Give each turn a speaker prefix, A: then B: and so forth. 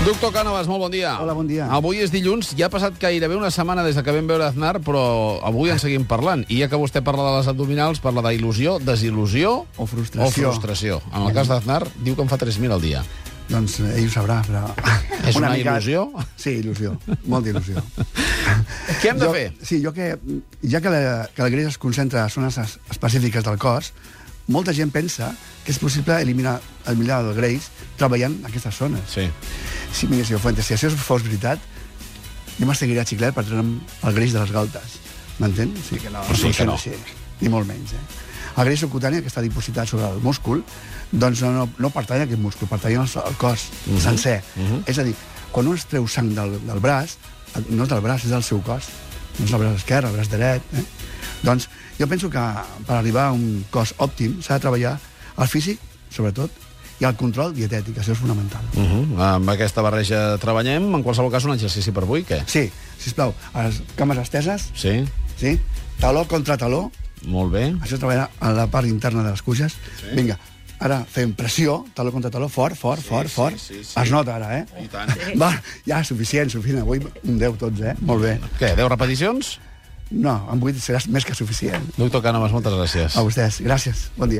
A: Doctor Cànovas, molt bon dia.
B: Hola, bon dia.
A: Avui és dilluns, ja ha passat gairebé una setmana des de que vam veure Aznar, però avui en seguim parlant. I ja que vostè parla de les abdominals, parla d'il·lusió, desil·lusió...
B: O frustració.
A: O frustració. En el cas d'Aznar, diu que en fa 3.000 al dia.
B: Doncs eh, ell ho sabrà, però...
A: És una il·lusió?
B: Sí, il·lusió. Molta il·lusió.
A: Què hem de
B: jo,
A: fer?
B: Sí, jo que... Ja que la, que la greix es concentra a zones es- específiques del cos, molta gent pensa que és possible eliminar, eliminar el greix treballant en aquestes zones.
A: Sí.
B: Sí, mira, senyor Fuentes, si això fos veritat, jo m'esseguiré a xiclet per treure'm el greix de les galtes. M'entén? Sí que no.
A: Però sí que no.
B: funciona Així, ni molt menys, eh? El greix subcutani, que està dipositat sobre el múscul, doncs no, no, no pertany a aquest múscul, pertany al, al cos
A: Mhm.
B: sencer. És a dir, quan un es treu sang del, del braç, el- no és del braç, és del seu cos. No és el braç esquerre, el braç dret. Eh? Doncs jo penso que per arribar a un cos òptim s'ha de treballar el físic, sobretot, i el control dietètic, això és fonamental.
A: Uh -huh. Amb aquesta barreja treballem. En qualsevol cas, un exercici per avui, què?
B: Sí, sisplau, a les cames esteses,
A: Sí,
B: sí? taló contra taló,
A: molt bé.
B: això treballarà a la part interna de les cuixes. Sí. Vinga, ara fem pressió, taló contra taló, fort, fort, sí, fort,
A: sí,
B: fort.
A: sí, sí.
B: Es nota ara, eh?
A: I tant. Sí.
B: Va, ja, suficient, suficient. Avui un 10 tots, eh? Molt bé.
A: Què, 10 repeticions?
B: No, amb 8 seràs més que suficient.
A: Doctor Cànovas, moltes gràcies.
B: A vostès, gràcies. Bon dia.